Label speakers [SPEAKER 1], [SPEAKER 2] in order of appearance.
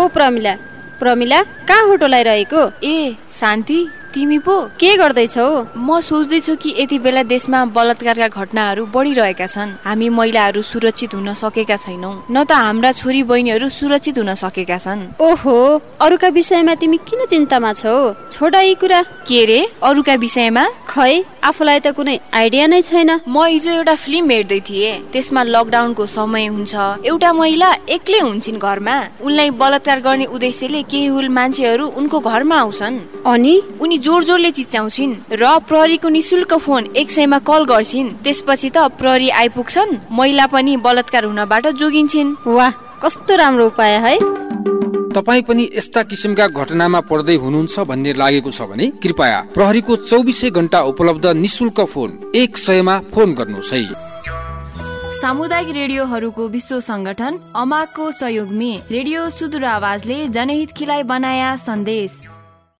[SPEAKER 1] ओ प्रमिला प्रमिला कहाँ होटो लगाइरहेको
[SPEAKER 2] ए शान्ति तिमी पो
[SPEAKER 1] के गर्दैछौ
[SPEAKER 2] म सोच्दैछु कि यति बेला देशमा बलात्कारका घटनाहरू बढिरहेका छन् हामी महिलाहरू सुरक्षित हुन सकेका छैनौँ न त हाम्रा छोरी बहिनीहरू सुरक्षित हुन सकेका छन्
[SPEAKER 1] ओहो अरूका विषयमा तिमी किन चिन्तामा छौ छोडा यी कुरा
[SPEAKER 2] के रे अरूका विषयमा
[SPEAKER 1] खै आफूलाई त कुनै आइडिया नै छैन
[SPEAKER 2] म हिजो एउटा फिल्म हेर्दै थिएँ त्यसमा लकडाउनको समय हुन्छ एउटा महिला एक्लै हुन्छन् घरमा उनलाई बलात्कार गर्ने उद्देश्यले केही हुल मान्छेहरू उनको घरमा आउँछन्
[SPEAKER 1] अनि
[SPEAKER 2] उनी जोर जोरले चिच्याउँछिन् र प्रहरीको निशुल्क फोन एक सयमा कल गर्छिन् त्यसपछि त प्रहरी आइपुग्छन् महिला पनि बलात्कार हुनबाट जोगिन्छिन्
[SPEAKER 1] वाह कस्तो राम्रो उपाय है
[SPEAKER 3] तपाईँ पनि यस्ता किसिमका घटनामा पर्दै हुनुहुन्छ भन्ने लागेको छ भने कृपया प्रहरीको चौबिसै घण्टा उपलब्ध निशुल्क फोन एक सयमा फोन गर्नुहोस् है
[SPEAKER 2] सामुदायिक रेडियोहरूको विश्व संगठन अमाको सहयोगमे रेडियो सुदूर आवाजले जनहित खिलाई बनाया सन्देश